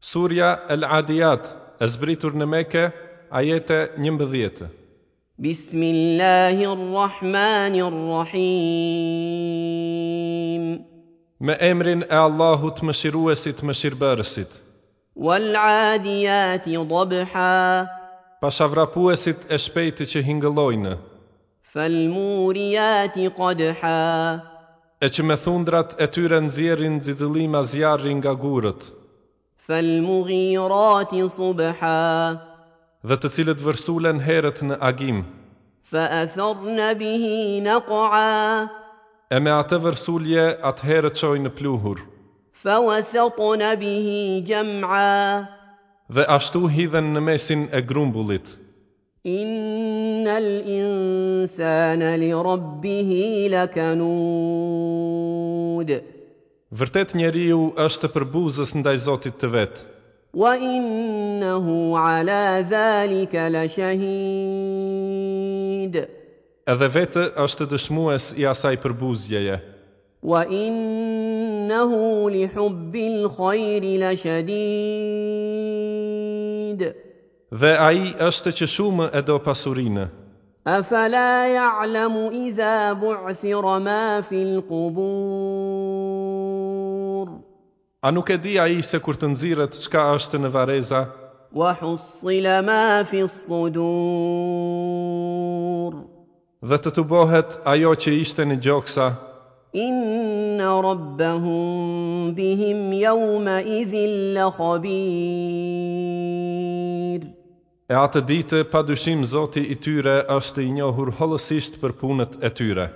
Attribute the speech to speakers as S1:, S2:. S1: Surja El Adiyat, e zbritur në Mekë, ajete 11.
S2: بسم الله الرحمن الرحيم
S1: Me emrin e Allahut Mëshiruesit, Mëshirbërësit,
S2: والعاديات ضبحا
S1: pashavrapuesit e shpejti që hingëllojnë,
S2: فالموريات قدحا
S1: e që me thundrat e tyre nxjerrin xixëllima zjarri nga gurët,
S2: فالمغيرات صبحا
S1: dhe të cilët vërsulen herët në agim,
S2: فأثرن به نقعا
S1: e me atë vërsulje atë herët qojnë pluhur,
S2: فوسطن به جمعا
S1: dhe ashtu hidhen në mesin e grumbullit.
S2: إن الإنسان لربه لكنود
S1: Vërtet njeriu është përbuzës ndaj Zotit të vetë,
S2: وإنه على ذلك لشهيد
S1: edhe vetë është dëshmues i asaj përbuzjeje,
S2: وإنه لحب الخير لشديد
S1: dhe ai është që shumë e do pasurinë.
S2: أفلا يعلم إذا بعثر ما في القبور
S1: A nuk e di ai se kur të nxirret çka është në vareza
S2: وحصل ما في الصدور
S1: dhe të të bohet ajo që ishte në gjoksa,
S2: إن ربهم بهم يومئذ لخبير
S1: e atë ditë pa dyshim Zoti i tyre është i njohur hollësisht për punët e tyre.